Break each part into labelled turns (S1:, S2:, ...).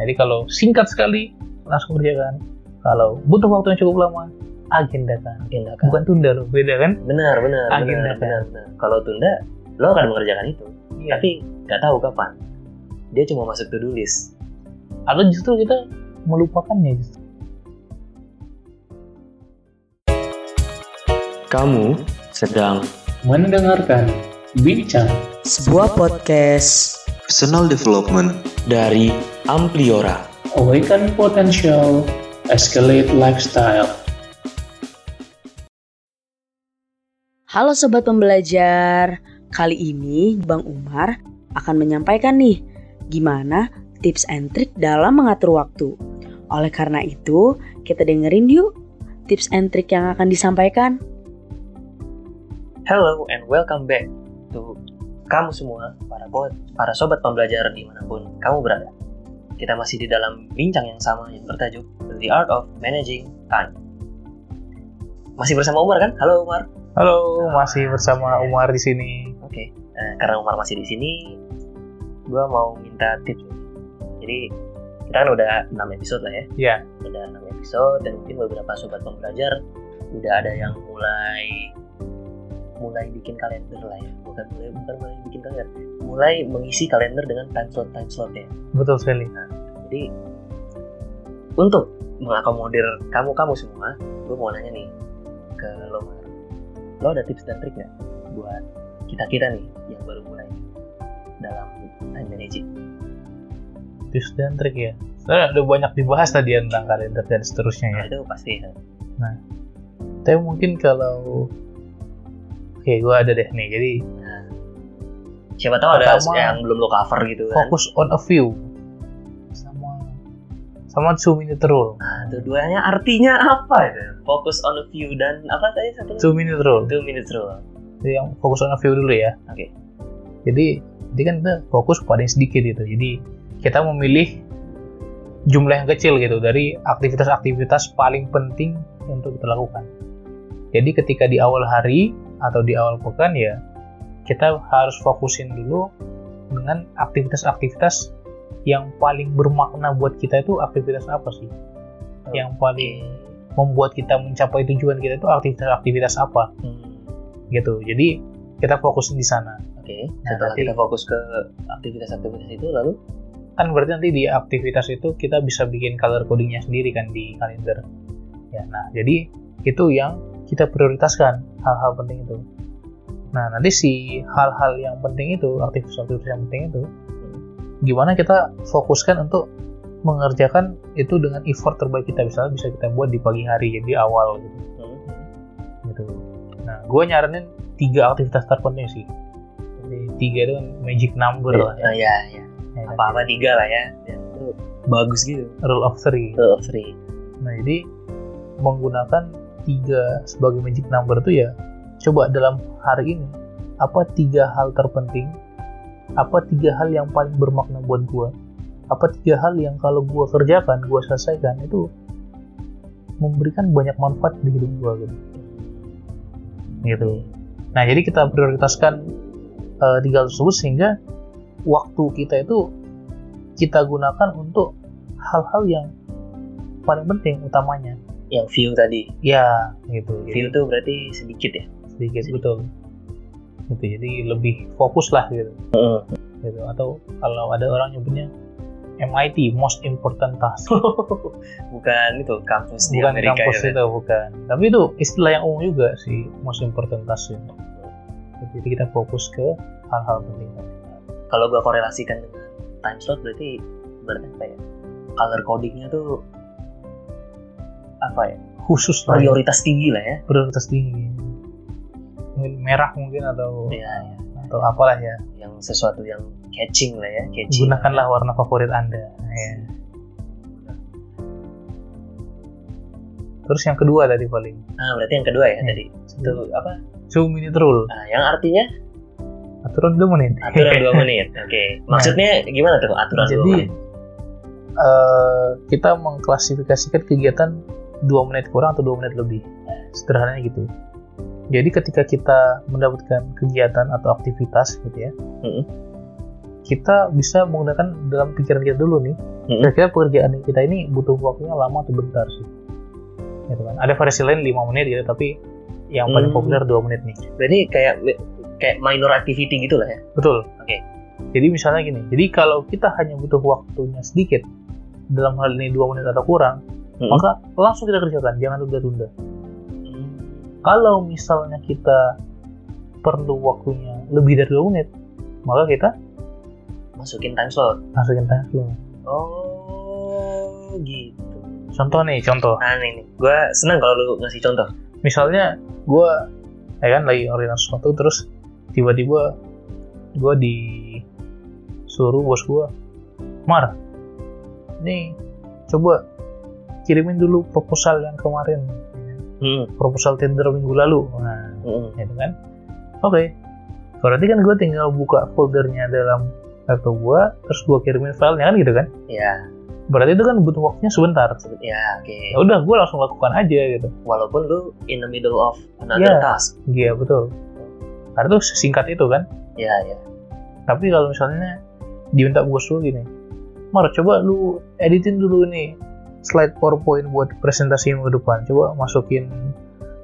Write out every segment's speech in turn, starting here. S1: Jadi kalau singkat sekali langsung kerjakan. Kalau butuh waktu yang cukup lama, agendakan.
S2: agendakan
S1: Bukan tunda loh, beda kan?
S2: Iya, benar benar benar
S1: Agendakan.
S2: benar benar. kalau tunda lo akan mengerjakan itu
S1: Iya.
S2: tapi nggak tahu kapan dia cuma masuk to do list
S1: Atau justru kita melupakannya justru.
S2: kamu sedang
S1: Mendengarkan bincang
S2: sebuah podcast
S3: Personal development
S2: dari Ampliora
S1: awaken potential escalate lifestyle.
S4: Halo sobat pembelajar, kali ini Bang Umar akan menyampaikan nih gimana tips and trick dalam mengatur waktu. Oleh karena itu, kita dengerin yuk tips and trick yang akan disampaikan.
S2: Hello and welcome back to kamu semua para bot, para sobat pembelajar dimanapun kamu berada. Kita masih di dalam bincang yang sama yang bertajuk The Art of Managing Time. Masih bersama Umar kan? Halo Umar.
S1: Halo, masih bersama Umar di sini.
S2: Oke. eh, karena Umar masih di sini, gua mau minta tips. Jadi kita kan udah 6 episode lah ya.
S1: Iya.
S2: Udah 6 episode dan mungkin beberapa sobat pembelajar udah ada yang mulai mulai bikin kalender lah ya. Bukan mulai bukan mulai bikin kalender, mulai mengisi kalender dengan time slot time slotnya.
S1: Betul sekali.
S2: Jadi untuk mengakomodir kamu kamu semua, gue mau nanya nih ke lo, Mar. lo ada tips dan trik nggak buat kita kita nih yang baru mulai dalam time managing?
S1: Tips dan trik ya. Sebenarnya udah banyak dibahas tadi ya tentang kalender dan seterusnya ya.
S2: Nah, itu pasti ya.
S1: Tapi mungkin kalau Oke, gua ada deh nih. Jadi
S2: Siapa tahu ada
S1: Pertama,
S2: yang belum lo cover gitu kan?
S1: fokus on a few sama sama two minute rule.
S2: Nah, itu duanya artinya apa itu? Fokus on a few dan apa tadi satu?
S1: Two minute rule.
S2: Two minutes rule.
S1: Jadi yang fokus on a few dulu ya.
S2: Oke.
S1: Jadi jadi kan kita fokus pada yang sedikit gitu. Jadi kita memilih jumlah yang kecil gitu dari aktivitas-aktivitas paling penting untuk kita lakukan. Jadi ketika di awal hari atau di awal pekan ya kita harus fokusin dulu dengan aktivitas-aktivitas yang paling bermakna buat kita itu aktivitas apa sih? Yang paling membuat kita mencapai tujuan kita itu aktivitas-aktivitas apa?
S2: Hmm,
S1: gitu. Jadi kita fokusin di sana.
S2: Oke, setelah
S1: nanti-
S2: kita fokus ke aktivitas-aktivitas itu lalu
S1: Kan berarti nanti di aktivitas itu kita bisa bikin color codingnya sendiri kan di kalender. Ya, nah jadi itu yang kita prioritaskan hal-hal penting itu. Nah nanti si hal-hal yang penting itu, aktivitas-aktivitas yang penting itu, gimana kita fokuskan untuk mengerjakan itu dengan effort terbaik kita misalnya bisa kita buat di pagi hari jadi awal gitu.
S2: Hmm,
S1: gitu. Nah, gue nyaranin tiga aktivitas terpenting sih. Jadi, tiga itu kan magic number lah ya.
S2: Nah, ya, ya.
S1: Ya kan?
S2: apa-apa tiga lah ya dan itu bagus gitu
S1: Rule of three.
S2: rule of three
S1: Nah, jadi menggunakan tiga sebagai magic number itu ya, coba dalam hari ini apa tiga hal terpenting, apa tiga hal yang paling bermakna buat gue, apa tiga hal yang kalau gue kerjakan, gue selesaikan itu memberikan banyak manfaat di hidup gue gitu. gitu. Nah, jadi kita prioritaskan eh, tiga hal tersebut sehingga waktu kita itu kita gunakan untuk hal-hal yang paling penting utamanya.
S2: yang view tadi
S1: Ya, gitu. Jadi
S2: view tuh berarti sedikit ya
S1: sedikit betul. Gitu. Jadi lebih fokus lah gitu. Gitu. Atau kalau ada orang nyebutnya MIT most important task.
S2: bukan itu kampus di
S1: bukan
S2: Amerika
S1: kampus
S2: ya
S1: itu bukan. Tapi itu istilah yang umum juga sih most important task. Gitu. Jadi kita fokus ke hal-hal penting tadi.
S2: kalau gua korelasikan dengan time slot berarti berarti apa ya color codingnya tuh apa ya
S1: Khusus lah. ya.
S2: prioritas tinggi lah ya
S1: prioritas tinggi mungkin merah mungkin atau
S2: ya, ya.
S1: atau apalah ya
S2: yang sesuatu yang catching lah ya catching
S1: gunakanlah warna favorit anda ya. terus yang kedua tadi paling
S2: nah berarti yang kedua ya
S1: Ya.
S2: tadi itu apa
S1: two minute rule
S2: nah, yang artinya
S1: aturan dua menit
S2: aturan dua menit oke maksudnya gimana tuh aturan kan.
S1: Nah. jadi
S2: dua menit
S1: eh, kita mengklasifikasikan kegiatan dua menit kurang atau dua menit lebih sederhananya gitu jadi ketika kita mendapatkan kegiatan atau aktivitas gitu ya
S2: Mm-mm.
S1: kita bisa menggunakan dalam pikiran kita dulu nih
S2: Mm-mm.
S1: kira-kira pekerjaan kita ini butuh waktunya lama atau bentar sih gitu kan ada versi lain 5 menit gitu tapi yang paling
S2: Hmm.
S1: populer 2 menit nih
S2: Berarti kayak kayak minor activity gitu lah ya.
S1: betul
S2: Oke.
S1: jadi misalnya gini jadi kalau kita hanya butuh waktunya sedikit dalam hal ini 2 menit atau kurang
S2: Mm-mm.
S1: maka langsung kita kerjakan jangan tunda-tunda Hmm. kalau misalnya kita perlu waktunya lebih dari 2 menit maka kita
S2: Masukin time slot.
S1: masukin time slow.
S2: Oh, gitu.
S1: contoh nih contoh
S2: Nah, ini nih. Gua senang kalau lu ngasih contoh.
S1: misalnya gue ya kan lagi ngelakuin sesuatu terus tiba-tiba gue disuruh bos gue Mar nih coba kirimin dulu proposal yang kemarin
S2: Hmm.
S1: proposal tender minggu lalu nah
S2: Mm-mm.
S1: gitu kan oke berarti kan gue tinggal buka foldernya dalam laptop gue terus gue kirimin filenya kan gitu kan
S2: Ya,
S1: berarti itu kan butuh waktunya sebentar
S2: sebe- ya oke.
S1: ya udah gue langsung lakukan aja gitu
S2: Walaupun lu in the middle of
S1: Ya.
S2: another task.
S1: Iya betul. Karena tuh singkat itu kan.
S2: Ya, ya.
S1: Tapi kalau misalnya diminta bos lu gini, Mar coba lu editin dulu nih slide PowerPoint buat presentasi minggu depan. Coba masukin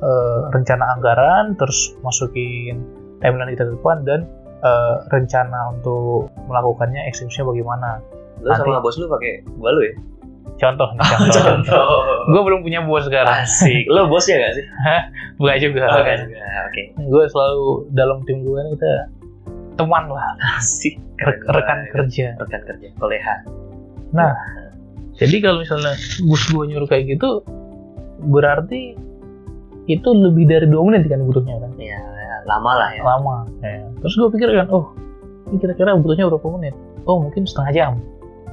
S1: eh, rencana anggaran, terus masukin timeline kita ke depan dan eh, rencana untuk melakukannya eksekusinya bagaimana.
S2: Lu
S1: Nanti-
S2: sama bos lu pakai gua lu ya.
S1: Contoh nih, contoh. contoh. Gue belum punya bos sekarang,
S2: Asik. Lu bosnya gak sih?
S1: bukan juga.
S2: Oh, enggak juga. Oke.
S1: Gue selalu dalam tim gue kan kita teman lah,
S2: Asik.
S1: re- rekan
S2: kerja.
S1: kerja.
S2: Rekan kerja. Koleha.
S1: Jadi kalau misalnya bos gue nyuruh kayak gitu, berarti itu lebih dari dua menit kan butuhnya kan,
S2: Ya, ya, lama lah ya.
S1: lama. Ya. Terus gue pikir kan, oh ini kira-kira butuhnya berapa menit? Oh mungkin setengah jam.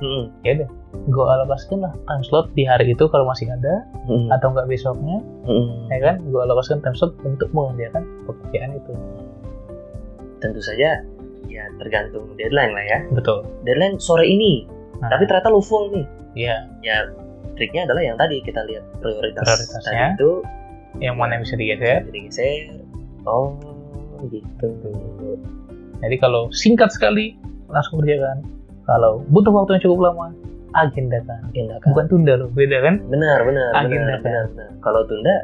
S2: Mm-mm.
S1: Ya deh, gue alokasikan lah time slot di hari itu kalau masih ada
S2: Mm-mm.
S1: atau nggak besoknya,
S2: Mm-mm.
S1: ya kan? Gue alokasikan time slot untuk mengerjakan pekerjaan itu.
S2: Tentu saja ya tergantung deadline lah ya.
S1: Betul.
S2: Deadline sore ini,
S1: Nah,
S2: tapi ternyata lu full nih.
S1: Iya.
S2: Ya triknya adalah yang tadi kita lihat prioritas
S1: Prioritasnya. Gitu ya.
S2: tadi itu
S1: yang mana yang bisa digeser?
S2: jadi geser. Oh, gitu.
S1: Jadi kalau singkat sekali langsung kerjakan. Kalau butuh waktu yang cukup lama, agendakan.
S2: Agenda kan.
S1: Bukan tunda loh, beda kan?
S2: Benar, benar,
S1: Agenda
S2: benar,
S1: kan.
S2: benar, benar. Kalau tunda,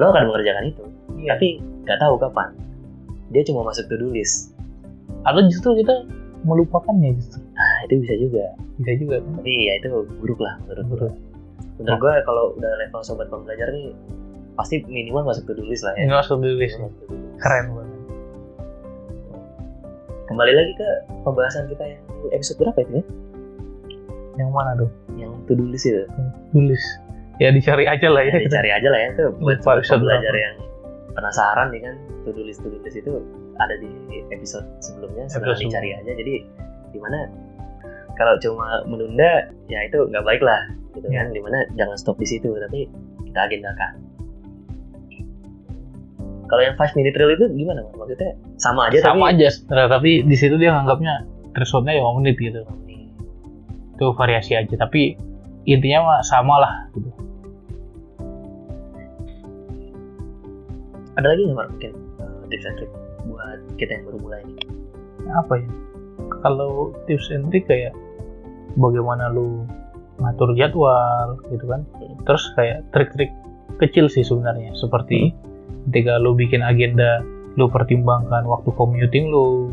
S2: lo akan mengerjakan itu.
S1: Iya.
S2: Tapi nggak tahu kapan. Dia cuma masuk to do list.
S1: atau justru kita melupakannya justru
S2: Nah, itu bisa juga.
S1: bisa juga kan
S2: Tapi ya itu buruk lah menurut gue.
S1: menurut
S2: Menurut gue kalau udah level sobat pembelajar nih pasti minimal masuk to do list lah ya.
S1: ini masuk dulu guys
S2: Masuk to do list.
S1: keren banget
S2: Kembali lagi ke pembahasan kita yang episode berapa itu ya?
S1: yang mana tuh
S2: Yang to do list itu.
S1: tulis ya dicari aja lah ya
S2: Ya, dicari aja lah ya itu
S1: Lupa
S2: buat sobat
S1: episode
S2: pembelajar
S1: berapa.
S2: yang penasaran nih kan to do list to do list itu ada di episode sebelumnya sedang
S1: Episode
S2: dicari aja jadi dimana kalau cuma menunda ya itu nggak baik lah gitu
S1: Ya.
S2: kan dimana jangan stop di situ tapi kita agendakan kalau yang 5 minute rule itu gimana Mak? maksudnya sama aja
S1: sama
S2: tapi
S1: aja sebenarnya tapi di situ dia nganggapnya thresholdnya yang menit gitu itu variasi aja tapi intinya mah sama lah gitu
S2: ada lagi nggak Mak, mungkin eh, tips and trick buat kita yang baru mulai nih
S1: apa ya kalau tips and trick kayak bagaimana lu ngatur jadwal gitu kan
S2: Hmm.
S1: terus kayak trik-trik kecil sih sebenarnya
S2: Hmm.
S1: seperti ketika lu bikin agenda lu pertimbangkan waktu commuting lu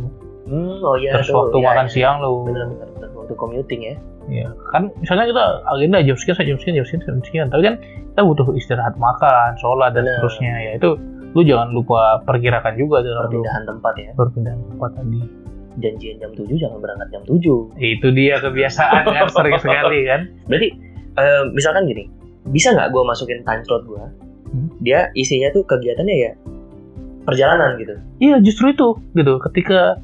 S2: hmm, oh iya
S1: terus
S2: tuh,
S1: waktu
S2: ya,
S1: makan
S2: ya.
S1: siang lu
S2: benar-benar benar. waktu commuting ya
S1: ya kan misalnya kita agenda jam sekian sampai jam sekian jam sekian jam sekian tapi kan kita butuh istirahat makan sholat dan
S2: Benar.
S1: seterusnya ya itu lu jangan lupa perkirakan juga dalam lu
S2: perpindahan tempat ya
S1: perpindahan tempat tadi Ya,
S2: janjian jam 7 jangan berangkat jam 7
S1: itu dia kebiasaan kan sering sekali kan
S2: berarti eh, misalkan gini bisa nggak gue masukin time slot gue
S1: Hmm.
S2: dia isinya tuh kegiatannya ya perjalanan gitu
S1: iya justru itu gitu ketika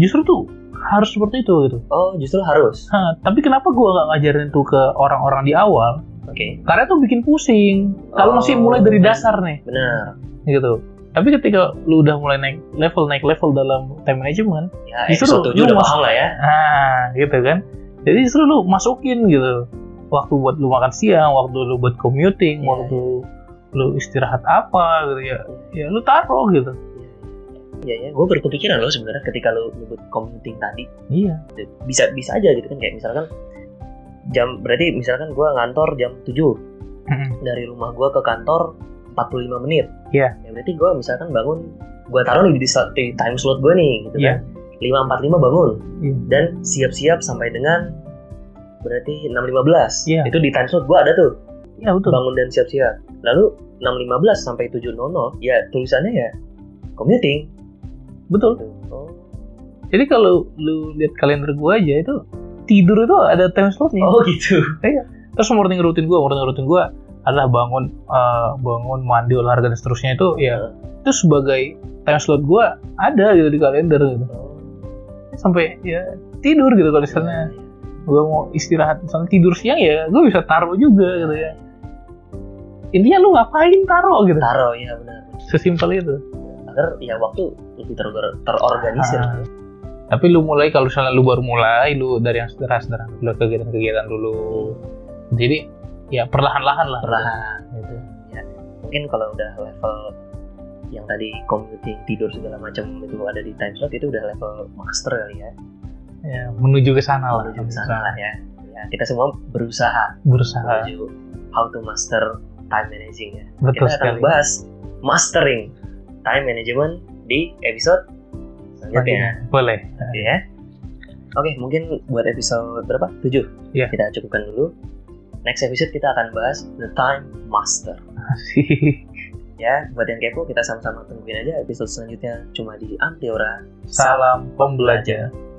S1: justru tuh harus seperti itu gitu
S2: oh justru harus
S1: Hah, tapi kenapa gua nggak ngajarin itu ke orang-orang di awal
S2: oke
S1: karena tuh bikin pusing kalau
S2: Oh.
S1: masih mulai dari dasar nih
S2: benar
S1: gitu tapi ketika lu udah mulai naik level naik level dalam time management
S2: ya
S1: Justru
S2: episode 7
S1: lu
S2: udah
S1: mas-
S2: paham lah ya
S1: nah gitu kan jadi justru lu masukin gitu waktu buat lu makan siang waktu lu buat commuting
S2: Iya,
S1: waktu lu istirahat apa gitu ya ya lu taruh gitu
S2: Iya ya, gue baru kepikiran loh sebenarnya ketika lo nyebut commuting tadi.
S1: Iya,
S2: Gitu. Bisa bisa aja gitu kan kayak misalkan jam berarti misalkan gue ngantor jam 7
S1: Mm-mm.
S2: dari rumah gue ke kantor 45 menit.
S1: Iya.
S2: Ya, berarti gue misalkan bangun gue taruh di, di- di time slot gue nih gitu
S1: Iya.
S2: kan. 5.45 bangun
S1: Iya.
S2: dan siap-siap sampai dengan berarti 6.15.
S1: Iya.
S2: Itu di time slot gue ada tuh.
S1: iya betul.
S2: bangun dan siap-siap. Lalu 6.15 sampai 7.00 ya tulisannya ya commuting.
S1: Betul.
S2: Gitu. Oh.
S1: Jadi kalau lu lihat kalender gue aja itu tidur itu ada time slotnya.
S2: oh gitu.
S1: Terus morning routine gue, morning routine gue adalah bangun, eh, bangun, mandi, olahraga dan seterusnya itu ya itu sebagai time slot gue ada gitu di kalender gitu. Sampai ya tidur gitu kalau misalnya gue mau istirahat misalnya tidur siang ya gue bisa taruh juga gitu ya intinya lu ngapain taruh gitu
S2: Taruh ya benar.
S1: sesimpel itu
S2: Agar ya waktu lebih ter- terorganisir.
S1: Ah. tapi lu mulai kalau misalnya lu baru mulai lu dari yang sederhana sederhana dulu kegiatan-kegiatan dulu jadi ya perlahan-lahan lah
S2: Perlahan.
S1: gitu.
S2: Ya, Mungkin kalau udah level yang tadi commuting tidur segala macam itu ada di time slot itu udah level master kali ya.
S1: ya, menuju ke sana lah
S2: Menuju ke sana lah ya. ya. Kita semua berusaha
S1: berusaha
S2: menuju how to master time managing ya.
S1: betul
S2: kita akan
S1: sekali
S2: bahas mastering time management di episode selanjutnya
S1: boleh
S2: Oke, ya. Oke, mungkin buat episode berapa? 7.
S1: Iya.
S2: Kita cukupkan dulu. Next episode kita akan bahas the time master.
S1: Asik.
S2: Ya, buat yang kepo kita sama-sama tungguin aja episode selanjutnya cuma di Antiora.
S1: salam pembelajar